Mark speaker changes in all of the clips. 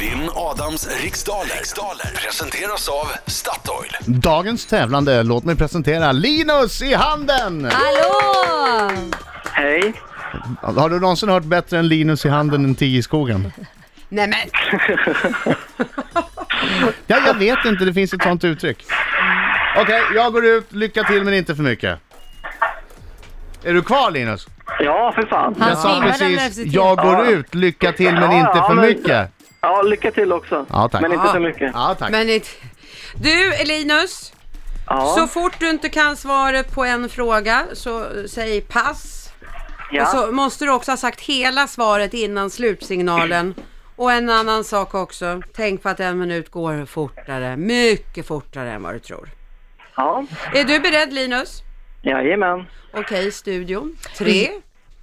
Speaker 1: Vinn Adams riksdaler. riksdaler presenteras av Statoil.
Speaker 2: Dagens tävlande, låt mig presentera Linus i handen!
Speaker 3: Hallå!
Speaker 4: Hej.
Speaker 2: Har du någonsin hört bättre än Linus i handen än tio i skogen?
Speaker 3: Nej men,
Speaker 2: Ja, jag vet inte, det finns ett sånt uttryck. Okej, jag går ut, lycka till men inte för mycket. Är du kvar Linus?
Speaker 4: Ja, för fan.
Speaker 3: Han
Speaker 2: Jag sa
Speaker 3: svimmade när
Speaker 2: precis,
Speaker 3: du
Speaker 2: jag går
Speaker 4: Ja.
Speaker 2: ut, lycka till men
Speaker 4: Ja,
Speaker 2: inte
Speaker 4: ja,
Speaker 2: för
Speaker 4: men-
Speaker 2: mycket.
Speaker 4: Ja, lycka till också.
Speaker 2: Ja, tack.
Speaker 4: Men inte
Speaker 5: Ja.
Speaker 4: så mycket.
Speaker 2: Ja, tack.
Speaker 5: Men det- du Linus,
Speaker 4: Ja.
Speaker 5: så fort du inte kan svaret på en fråga så säg pass.
Speaker 4: ja.
Speaker 5: Så måste du också ha sagt hela svaret innan slutsignalen. Och en annan sak också, tänk på att en minut går fortare, mycket fortare än vad du tror.
Speaker 4: ja.
Speaker 5: Är du beredd Linus?
Speaker 4: Jajamän.
Speaker 5: Okej, studion. Tre,
Speaker 4: Mm.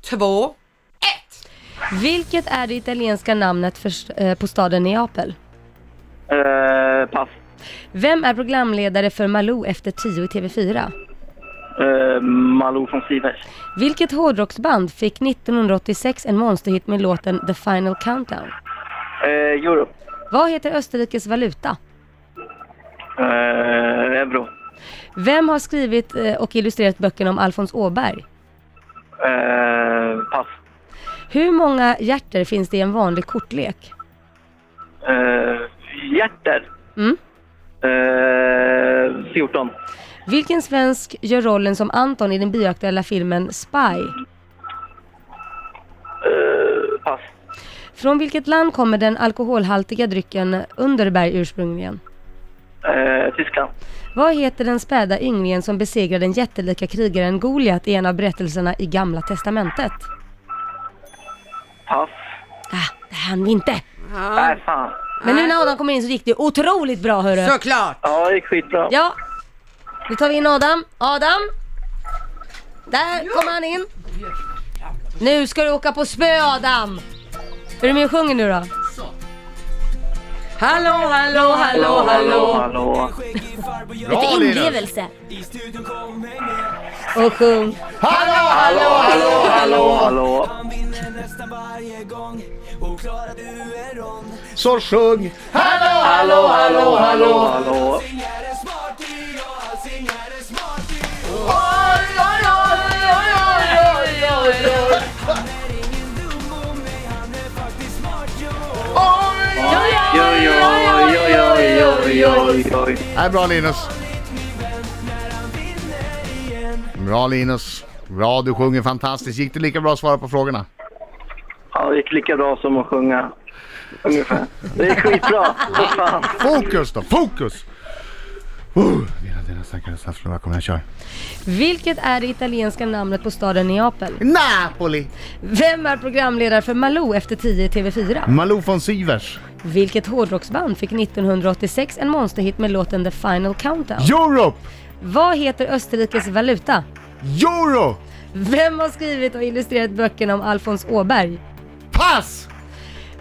Speaker 5: två, ett!
Speaker 3: vilket är det italienska namnet för, st- eh, på staden Neapel?
Speaker 4: Uh, pass.
Speaker 3: Vem är programledare för Malou efter 10 i TV4?
Speaker 4: Uh, Malou von Sivers.
Speaker 3: Vilket hårdrocksband fick 1986 en monsterhit med låten The Final Countdown?
Speaker 4: Uh, euro.
Speaker 3: Vad heter Österrikes valuta?
Speaker 4: Uh, euro.
Speaker 3: Vem har skrivit eh, och illustrerat böckerna om Alfons Åberg?
Speaker 4: Uh, pass.
Speaker 3: Hur många hjärter finns det i en vanlig kortlek?
Speaker 4: Uh, hjärter.
Speaker 3: Mm.
Speaker 4: Eh, 14.
Speaker 3: Vilken svensk gör rollen som Anton i den bioaktuella filmen Spy?
Speaker 4: Eh, pass.
Speaker 3: Från vilket land kommer den alkoholhaltiga drycken Underberg ursprungligen?
Speaker 4: Eh, Tyskland.
Speaker 3: Vad heter den späda ynglingen som besegrar den jättelika krigaren Goliat i en av berättelserna i Gamla Testamentet?
Speaker 4: Pass.
Speaker 3: Ah, det hann vi inte!
Speaker 5: Ja,
Speaker 4: Nej, fan.
Speaker 3: Men nu när Adam kommer in så gick det otroligt bra hörru!
Speaker 5: såklart!
Speaker 4: Ja, det gick skitbra.
Speaker 3: Ja, nu tar vi in Adam. Adam! Där kommer han in. Nu ska du åka på spö Adam! Är du med och sjunger nu då?
Speaker 5: Hallå, hallå, hallå,
Speaker 4: hallå.
Speaker 5: hallå!
Speaker 4: hallå.
Speaker 2: Bra Linus!
Speaker 3: Och sjung.
Speaker 2: Hallå, hallå, hallå,
Speaker 4: Hallå,
Speaker 2: hallå!
Speaker 4: hallå.
Speaker 2: Så sjung! Hallå, hallå, hallå,
Speaker 4: Hallå,
Speaker 2: hallå!
Speaker 4: hallå. Oj, oj, oj, oj, oj, oj, oj, oj.
Speaker 2: Nej, bra Linus. Bra Linus. Bra, du sjunger fantastiskt. Gick det lika bra att svara på frågorna?
Speaker 4: Ja, det gick lika bra som att sjunga. Ungefär. Det gick skitbra. För fan.
Speaker 2: Fokus då, fokus! Uh, mina dina stackare safflor, kom igen kör.
Speaker 3: Vilket är det italienska namnet på staden Neapel?
Speaker 2: Napoli!
Speaker 3: Vem är programledare för Malou efter 10 i TV4?
Speaker 2: Malou von Sivers.
Speaker 3: Vilket hårdrocksband fick 1986 en monsterhit med låten The Final Countdown?
Speaker 2: Europe!
Speaker 3: Vad heter Österrikes valuta?
Speaker 2: Euro!
Speaker 3: Vem har skrivit och illustrerat böckerna om Alfons Åberg?
Speaker 2: Pass!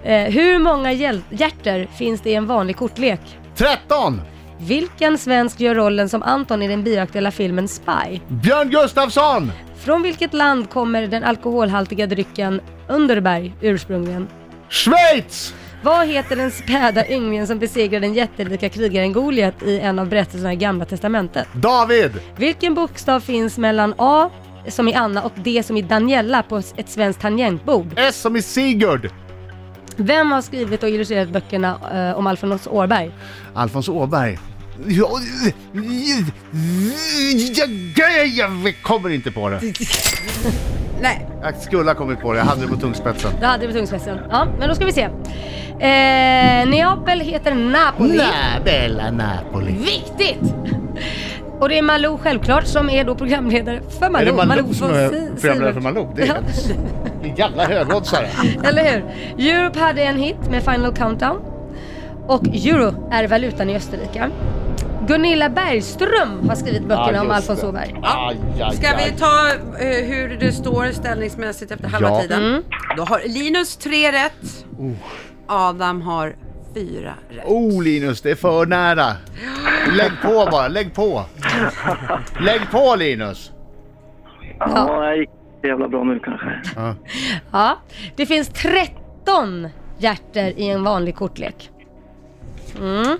Speaker 3: Eh, hur många hjäl- hjärter finns det i en vanlig kortlek?
Speaker 2: 13!
Speaker 3: Vilken svensk gör rollen som Anton i den bioaktuella filmen Spy?
Speaker 2: Björn Gustafsson!
Speaker 3: Från vilket land kommer den alkoholhaltiga drycken Underberg ursprungligen?
Speaker 2: Schweiz!
Speaker 3: Vad heter den späda ynglingen som besegrar den jättelika krigaren Goliat i en av berättelserna i Gamla Testamentet?
Speaker 2: David!
Speaker 3: Vilken bokstav finns mellan A som i Anna och D som i Daniela på ett svenskt tangentbord?
Speaker 2: S som i Sigurd!
Speaker 3: Vem har skrivit och illustrerat böckerna eh, om Alfons Åberg?
Speaker 2: Alfons Åberg. Ja, Jag, jag kommer inte på det.
Speaker 5: Nej,
Speaker 2: Jag skulle ha kommit på det, jag hade det på tungspetsen.
Speaker 3: Det hade vi tungspetsen. Ja, men då ska vi se. Eh, Neapel heter Napoli.
Speaker 2: Nej, Bella Napoli.
Speaker 3: Viktigt! Och det är Malou självklart som är då programledare för Malou.
Speaker 2: Är det Malou
Speaker 3: von
Speaker 2: som är
Speaker 3: Si-
Speaker 2: programledare för
Speaker 3: Sivert.
Speaker 2: Malou? Det är en jävla högoddsare.
Speaker 3: Eller hur? Europe hade en hit med Final Countdown. Och euro är valutan i Österrike. Gunilla Bergström har skrivit
Speaker 2: Ah,
Speaker 3: böckerna om Alfons Åberg.
Speaker 5: ska vi ta eh, hur det står ställningsmässigt efter halva
Speaker 2: Ja.
Speaker 5: tiden? Då har Linus tre rätt. Adam har fyra rätt.
Speaker 2: Oh Linus, det är för nära. Lägg på bara, lägg på. Lägg på Linus.
Speaker 4: Ja, det gick så jävla bra nu kanske.
Speaker 3: Ja. Det finns 13 hjärter i en vanlig kortlek. Mm.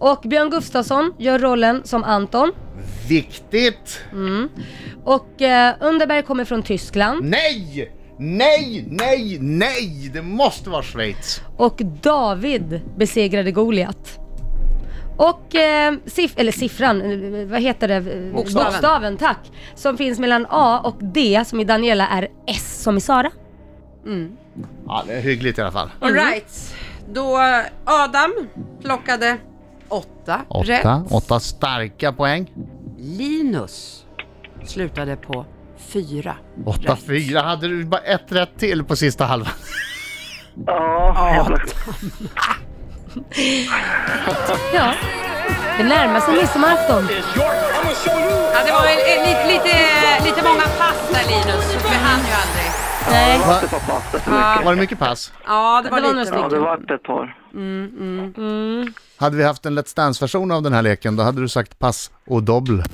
Speaker 3: Och Björn Gustafsson gör rollen som Anton.
Speaker 2: Viktigt!
Speaker 3: Och eh, Underberg kommer från Tyskland.
Speaker 2: Nej! Nej, nej, nej! Det måste vara Schweiz.
Speaker 3: Och David besegrade Goliat. Och eh, siff- eller siffran, eh, vad heter det? Eh,
Speaker 5: Bokstaven.
Speaker 3: Bokstaven, tack. Som finns mellan A och D som i Daniela är S som i Sara.
Speaker 2: Ja, det är hyggligt i alla fall.
Speaker 5: Mm. Alright. Då Adam plockade åtta,
Speaker 2: Åtta,
Speaker 5: rätt.
Speaker 2: åtta starka poäng.
Speaker 5: Linus slutade på fyra.
Speaker 2: Åtta,
Speaker 5: rätt.
Speaker 2: fyra. Hade du bara ett rätt till på sista halvan?
Speaker 4: Ja, jävlar.
Speaker 3: Ja, det närmar sig midsommarafton.
Speaker 5: Ja, det var en, en, lite, lite, lite många pass där Linus, så vi hann ju aldrig.
Speaker 3: Nej,
Speaker 2: Va?
Speaker 4: Det var pass för mycket.
Speaker 2: Var det mycket pass?
Speaker 5: Ja, det var,
Speaker 3: Det var några
Speaker 5: lite.
Speaker 4: Ja,
Speaker 3: stycken.
Speaker 4: det var ett par.
Speaker 2: Hade vi haft en Let's Dance-version av den här leken, då hade du sagt pass och dobbel.
Speaker 6: Riks